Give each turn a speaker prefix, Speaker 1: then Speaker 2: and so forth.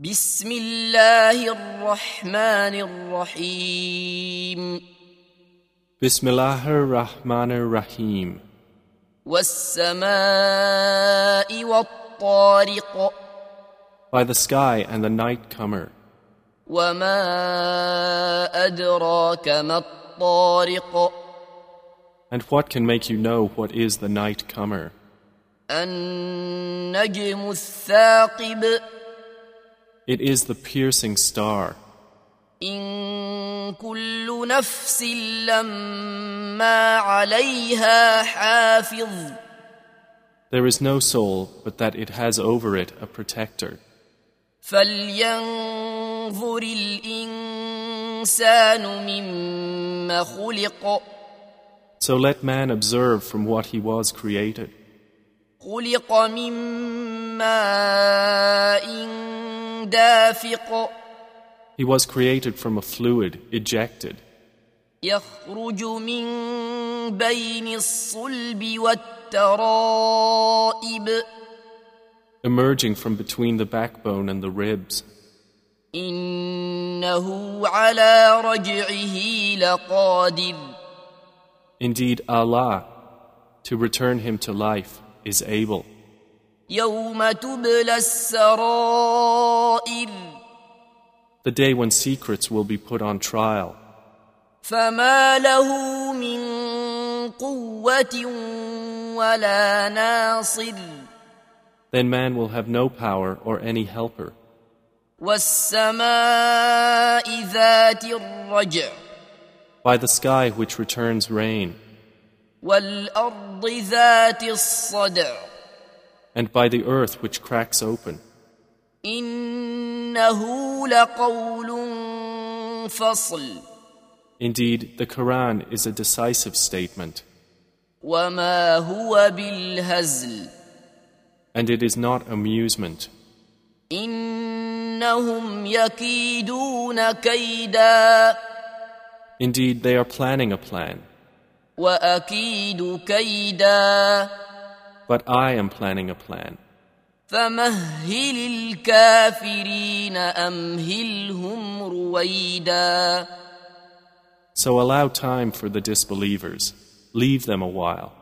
Speaker 1: بسم الله الرحمن الرحيم
Speaker 2: Bismillahir Rahmanir Rahim.
Speaker 1: والسماء والطارق
Speaker 2: By the sky and the night comer.
Speaker 1: وما أدراك ما الطارق
Speaker 2: And what can make you know what is the night comer?
Speaker 1: النجم الثاقب
Speaker 2: It is the piercing star.
Speaker 1: إن كل نفس لما عليها حافظ
Speaker 2: There is no soul but that it has over it a protector.
Speaker 1: فلينظر الإنسان مما خلق
Speaker 2: So let man observe from what he was created.
Speaker 1: خلق من ماء دافق
Speaker 2: He was created from a fluid ejected.
Speaker 1: يخرج من بين الصلب والترائب
Speaker 2: emerging from between the backbone and the ribs.
Speaker 1: إنه على رجعه لقادر
Speaker 2: Indeed, Allah, to return him to life, is able.
Speaker 1: يوم تبلى السرائر
Speaker 2: The day when secrets will be put on trial,
Speaker 1: فما له من قوة ولا ناصر
Speaker 2: then man will have no power or any helper,
Speaker 1: والسماء ذات الرجع
Speaker 2: by the sky which returns rain,
Speaker 1: والأرض ذات الصدع
Speaker 2: and by the earth which cracks open.
Speaker 1: إنه لقول فصل
Speaker 2: Indeed, the Quran is a decisive statement,
Speaker 1: وما هو بالهزل
Speaker 2: and it is not amusement.
Speaker 1: إنهم يكيدون كيدا
Speaker 2: Indeed, they are planning a plan,
Speaker 1: وأكيد كيدا
Speaker 2: but I am planning a plan.
Speaker 1: فمهل الكافرين أمهلهم رويدا
Speaker 2: So allow time for the disbelievers, leave them a while.